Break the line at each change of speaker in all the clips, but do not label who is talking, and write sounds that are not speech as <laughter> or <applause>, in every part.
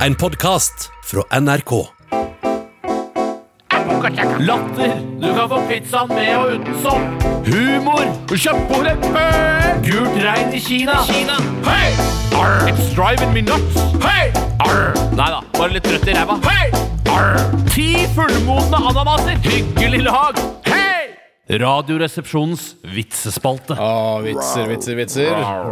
En podkast fra NRK.
Latter. Du kan få pizzaen med og uten sopp. Humor. Kjøpt på det før. Gult regn i Kina. Kina. Hei! Arr. It's driving me nuts. Hei! Arr. Nei da, bare litt trøtt i ræva. Hei! Arr. Ti fullmodne ananaser. Hyggelig lag. Hei! Radioresepsjonens vitsespalte.
Å, vitser, vitser, vitser.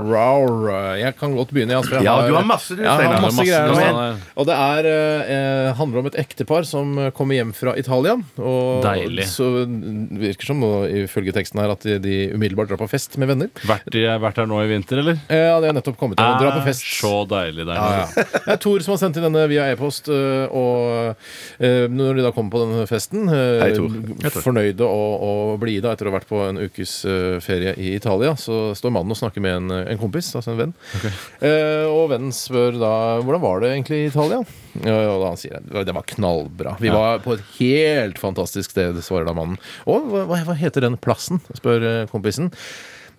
Rawr. Jeg kan godt begynne, jeg.
Ja, du har masse, du,
Ja, jeg
Steinar.
har masse
Masse
greier.
greier.
nå. Og det er, eh, handler om et ektepar som kommer hjem fra Italia. Og
Deilig.
Så virker som, og ifølge teksten her, at de, de umiddelbart drar på fest med venner.
Vært, i- vært her nå i vinter, eller?
Eh, Ja, det er nettopp kommet til. Dra
Eh,
på fest.
Så deilig der.
Ja, ja. Det er Tor som har sendt inn denne via e-post. øh, Og øh, når de da kommer på denne festen, øh,
Hei, Tor.
fornøyde og, og blide etter å ha vært på en ukes øh, ferie i Italia, så står mannen og snakker med en, en kompis, altså en venn. Eh, Og vennen spør da hvordan var det egentlig i Italia? Eh, Og da han sier han det var knallbra. Vi var på et helt fantastisk sted, svarer da mannen. Og hva, hva- hva heter den plassen? spør eh, kompisen.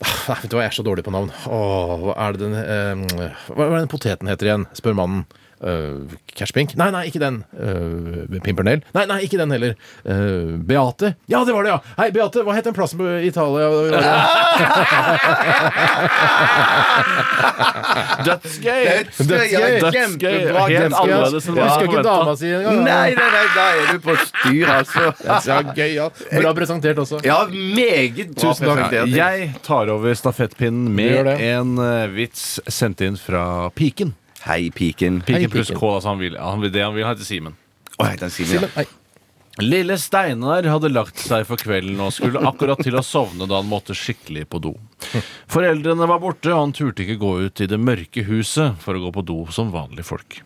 Nei, vet du hva, jeg er så dårlig på navn. Åh, hva er det den eh, Hva hva er den poteten heter igjen? spør mannen. Uh, Cashpink? Nei, nei, ikke den. Eh, Pimpernell? Nei, nei, ikke den heller. Eh, Beate? Ja, det var det, ja! Hei, Beate, hva het den plassen på <laughs> Italia?
Dødsgøy!
Dødsgøy, ja,
Dødsgøy.
Kjempebra.
Helt
kjempebra.
annerledes enn
Jeg
hva
husker
jeg
ikke dama
forventa.
si engang.
Nei, nei, nei, da er du på styr, altså.
Ja, gøy, ja. Bra presentert også.
Ja, meget bra
Tusen takk.
presentert.
Jeg tar over stafettpinnen
Du gjør
med
det.
en eh, vits sendt inn fra Piken.
Hei, piken.
Piken pluss
Piken.
K, altså. Han vil, han vil det han vil, han heter Simen.
Å, heter han Simen?
Simen,
ja.
nei.
Lille Steinar hadde lagt seg for kvelden og skulle akkurat til å sovne da han måtte skikkelig på do. Foreldrene var borte, og han turte ikke gå ut i det mørke huset for å gå på do som vanlige folk.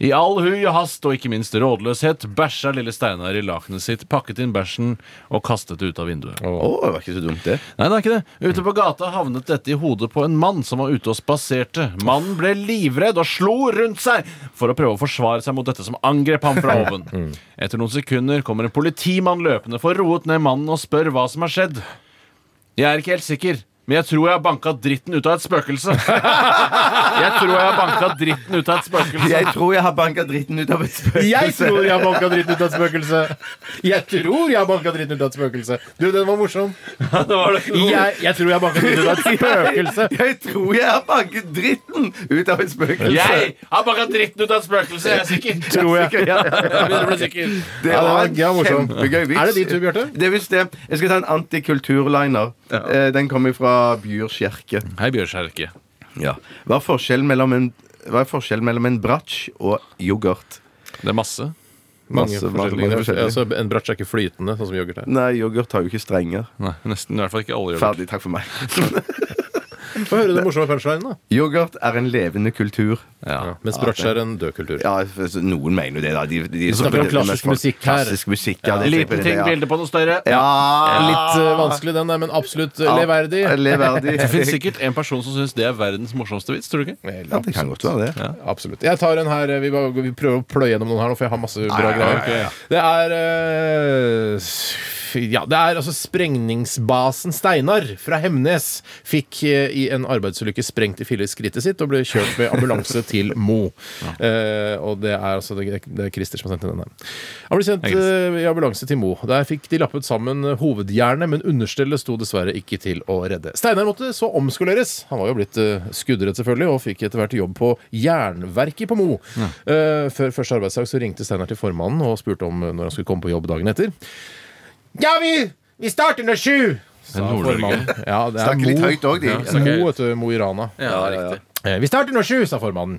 I all hui og hast og ikke minst rådløshet bæsja lille Steinar i lakenet sitt, pakket inn bæsjen og kastet det ut av vinduet.
Å, det var ikke så dumt, det.
Nei, det er ikke det. Ute på gata havnet dette i hodet på en mann som var ute og spaserte. Mannen ble livredd og slo rundt seg for å prøve å forsvare seg mot dette som angrep ham fra
<laughs> Mm.
oven. Etter noen sekunder kommer en politimann løpende, får roet ned mannen og spør hva som har skjedd. Jeg er ikke helt sikker. Men jeg tror jeg har banka dritten ut av et spøkelse. <laughs> Jeg tror jeg har banka dritten ut av et <laughs> spøkelse.
Jeg tror jeg har banka dritten ut av et spøkelse.
Jeg tror jeg har banka dritten ut av et spøkelse! <laughs> Jeg tror jeg har banka dritten ut av et spøkelse! Du, den var morsom. Jeg, jeg tror jeg har banka dritten ut <laughs> av et spøkelse!
Jeg tror jeg har banket dritten ut av et spøkelse.
Jeg har banka dritten ut av et spøkelse, jeg er sikker.
Tror jeg.
Ja, ja, <laughs> ja.
Jeg begynner å bli sikker.
Ja,
Det
det var
var en
gøy og morsom.
kjempegøy vits.
Er det din tur, Bjarte?
Det er visst det. Jeg skal ta en antikulturliner. Eh, Den kommer fra Bjørs kirke.
Hei, Bjørskjerke.
Ja. Hva er forskjellen mellom en hva er forskjellen mellom en bratsj og yoghurt?
Det er masse.
Mange
Masse-
forskjellige.
mange forskjellige.
Altså, en bratsj er ikke flytende, sånn som yoghurt er.
Nei, yoghurt har jo ikke strenger.
Nei, nesten. I hvert fall ikke alle gjør det.
Ferdig. Takk for meg. <laughs>
Få høre den morsomme punchlinen, da.
Yoghurt er en levende kultur.
Ja.
Mens bratsj er en død kultur.
Ja, altså, noen mener jo det, da. De, de, de
snakker om klassisk musikk her.
Klassisk musikk, ja. det-
Liten ting,
ja.
bilde på noe større.
Ja,
Litt eh, vanskelig den der, men absolutt eh, leverdig.
Ja, Leverdig.
Det finnes sikkert en person som syns det er verdens morsomste vits. tror du
<laughs>
ikke?
Vel,
Ja, det kan godt være det.
Absolutt. Jeg tar en her. Vi, bare, vi prøver å pløye gjennom noen her nå, for jeg har masse bra
ja,
greier.
ja, ja.
Det er eh, Ja, det er altså sprengningsbasen Steinar fra Hemnes fikk eh, i en arbeidsulykke sprengt i filleskrittet sitt og ble kjørt med ambulanse til Mo. Eh, og det er altså det, det er Christer som har sendt inn denne. Han ble sendt
Hei, Christer.
eh, i ambulanse til Mo. Der fikk de lappet sammen hovedjernet, men understellet sto dessverre ikke til å redde. Steinar måtte så omskoleres. Han var jo blitt eh, skuddredd, selvfølgelig, og fikk etter hvert jobb på Jernverket på Mo. Eh, før første arbeidsdag så ringte Steinar til formannen og spurte om eh, når han skulle komme på jobb dagen etter. Ja, vi, vi starter når sju! Sa
Nord-Norge.
formannen. Ja, det er
Snakker litt
Mo.
høyt òg, de. Altså,
Mo, vet du. Mo i Rana. Eh, Vi starter når sju, sa formannen.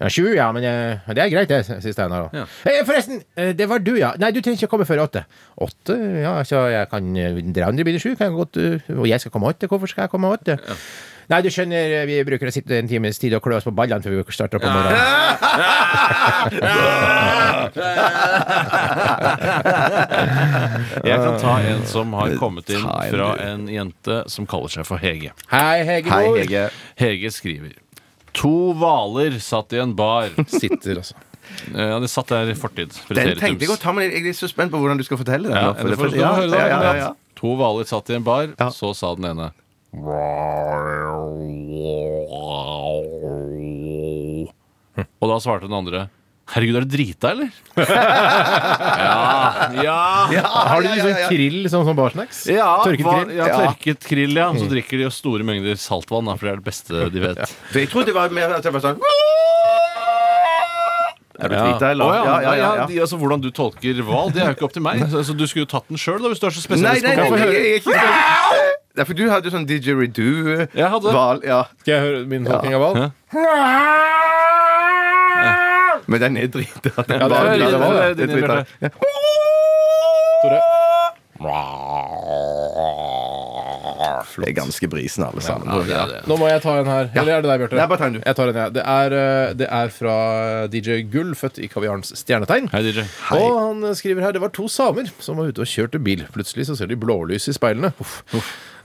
Ja, sju, ja, men eh, det er greit, det, sier Steinar. da. Eh, forresten, eh, det var du, ja. Nei, du trenger ikke å komme før åtte. Åtte? Ja, så jeg kan eh, Dere andre blir sju, kan jeg godt eh, Og jeg skal komme åtte? Hvorfor skal jeg komme åtte? Nei, du skjønner, eh, vi bruker å sitte en times tid og klø oss på ballene før vi starter opp om
<laughs>
morgenen.
Jeg kan ta en som har kommet inn
Ta en,
fra
du.
en jente som kaller seg for Hege.
Hei, Hege.
Hei,
Mor.
Hege.
Hege skriver To hvaler satt i en bar. Eh,
Sitter, altså.
Ja, De satt der i fortid.
Den tenkte jeg å ta, men jeg er litt så spent på hvordan du skal fortelle den.
Ja,
da, for
eller
det-
for,
ja,
høre da,
ja, ja, ja.
To hvaler satt i en bar,
Ja.
så sa den ene Og da svarte den andre Herregud, er du drita,
<laughs>
eller? ja, ja.
Har de
ja,
liksom
ja, ja.
krill sånn som barsnacks?
Ja,
Tørket
hva-
krill?
Ja, tørket krill, ja.
Mm.
Så drikker de jo store mengder saltvann, da, for det er det beste de vet.
For jeg trodde det var mer at jeg var sånn Er du drita, eller?
Å, ja,
Ja, ja, ja, ja.
De, altså, hvordan du tolker hval, det er jo ikke opp til meg. Så, så du skulle jo tatt den sjøl, hvis du er så
Nei,
spesialist.
nei,
på
nei,
hval.
nei, jeg er ikke sånn. Nei, for du hadde jo sånn didgeridoo.
Jeg hadde.
Val, ja.
Skal jeg høre min tolking av hval?
Ja.
Men den er drita. Den
Ja, det
var
er-
drita,
det var-
ja.
det er-
Jeg tror jeg tar- Ja.
Tore?
Det er ganske brisen, alle sammen.
Ja, det er det.
Nå må jeg ta en her. Eller er det deg, Bjarte?
Nei, bare ta en du.
Jeg tar en, jeg. Det er, eh, det er fra DJ Gull, født i Kaviarens stjernetegn.
Hei, DJ.
Og han skriver her det var to samer som var ute og kjørte bil. Plutselig så ser de blålys i speilene. Uff.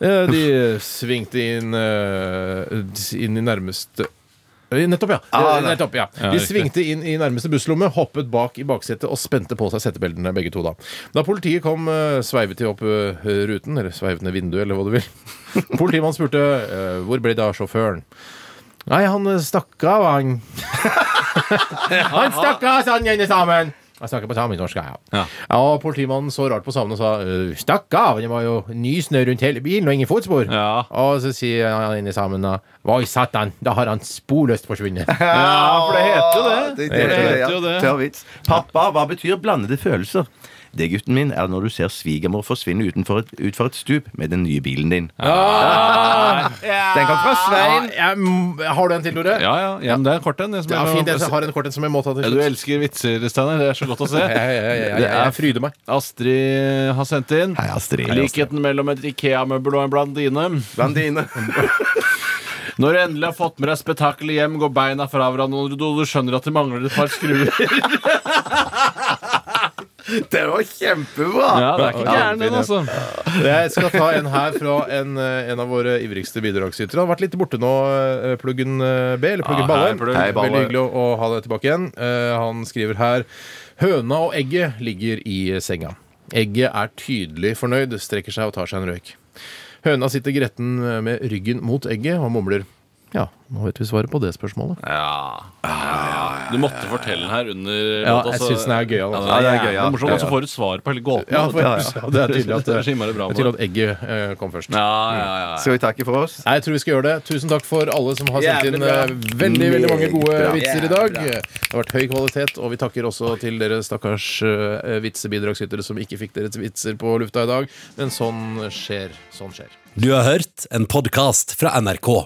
Eh, De svingte inn, eh, inn i nærmeste Eh, Nettopp, ja.
Ah,
Eh,
nei.
Nettopp, ja.
Ja,
De
riktig.
svingte inn i nærmeste busslomme, hoppet bak i baksetet og spente på seg settebeltene, begge to. Da Da politiet kom, eh, sveivet de opp eh, ruten, eller sveivet ned vinduet, eller hva du vil. <laughs> Politimannen spurte eh, hvor ble det av sjåføren. Nei, han eh, stakk av,
<laughs>
han. han stakk av, sa han ene samen. Han snakker på samisk-norsk, ja.
Ja.
ja. Og politimannen så rart på samene og sa «Øh, stakk av, det var jo ny snø rundt hele bilen og ingen fotspor.
Ja.
Og så sier han ene samen da Hva i satan, da har han sporløst
<laughs>
forsvunnet.
Ja, for det heter jo det.
Det,
Det heter jo
jo det.
det.
ja. Tørr vits. Pappa, hva betyr blandede følelser? Det, gutten min, er når du ser svigermor forsvinne utenfor et, utfor et stup med den nye bilen din. Den kom fra Svein.
Ja, jeg m- har du en til, Tore?
Ja, ja, ja, men det er kort en. det som
Det er
jeg-
fint, jeg har en kort en som jeg må ta til
Ja, du
slutt.
elsker vitser, Steinar. Det er så godt å se.
Jeg, jeg, jeg, jeg, jeg, jeg fryder meg.
Astrid har sendt inn.
Hei, Astrid.
Likheten mellom et Ikea-møbel og en blandine.
Blandine.
Når du endelig har fått med deg spetakkelet hjem, går beina fra hverandre, og du, du skjønner at det mangler et par skruer.
<laughs> Det var kjempebra!
Ja, det er ikke
Ja,
gæren, den, altså.
Jeg skal ta en her fra en, eh, en av våre ivrigste bidragsytere. Han har vært litt borte nå, eh, Pluggen eh, B, eller Pluggen
Ja,
Balle.
hei, Plugg.
Hei, Balle.
Veldig hyggelig å, å ha deg tilbake igjen. Eh, han skriver her Høna og egget ligger i senga. Egget er tydelig fornøyd, strekker seg og tar seg en røyk. Høna sitter gretten eh, med ryggen mot egget og mumler. Ja, nå vet vi svaret på det spørsmålet.
Du måtte fortelle den her under
Ja,
låta,
jeg
så-
synes den er gøyal, altså.
Ja, det er
Ja,
gøy, ja.
ja.
morsomt, og så får du svar på hele gåten.
Ja,
vet
for,
du.
ja, <laughs> Det er tydelig at,
Det er så innmari bra,
det er tydelig at egget eh, kom først.
ja, ja, ja.
Skal vi takke for oss?
Nei, jeg tror vi skal gjøre det. Tusen takk for alle som har sendt
Jævlig
inn
bra.
eh, veldig veldig mange gode
Meget bra.
vitser i
Jævlig
dag. Det har vært høy kvalitet, og vi takker også til dere stakkars eh, vitsebidragsytere som ikke fikk deres vitser på lufta i dag. Men sånn skjer. Sånn skjer.
Du har hørt en podcast fra NRK.